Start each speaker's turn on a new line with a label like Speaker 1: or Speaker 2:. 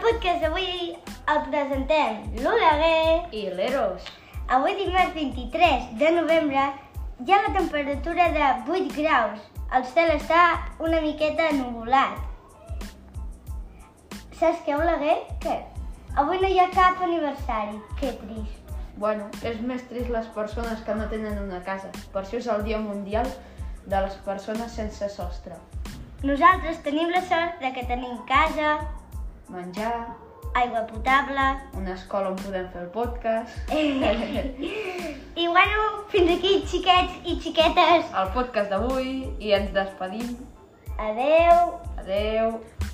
Speaker 1: podcast d'avui el presentem l'Oleguer.
Speaker 2: I l'Eros.
Speaker 1: Avui dimarts 23 de novembre hi ha la temperatura de 8 graus. El cel està una miqueta nuvolat. Saps què, Oleguer?
Speaker 2: Què?
Speaker 1: Avui no hi ha cap aniversari. Que trist.
Speaker 2: Bueno, és més trist les persones que no tenen una casa. Per això és el Dia Mundial de les Persones Sense Sostre.
Speaker 1: Nosaltres tenim la sort de que tenim casa,
Speaker 2: Menjar,
Speaker 1: aigua potable...
Speaker 2: una escola on podem fer el podcast,
Speaker 1: I bueno, fins aquí, xiquets i xiquetes.
Speaker 2: el podcast d'avui i ens despedim.
Speaker 1: Adeu!
Speaker 2: Adeu.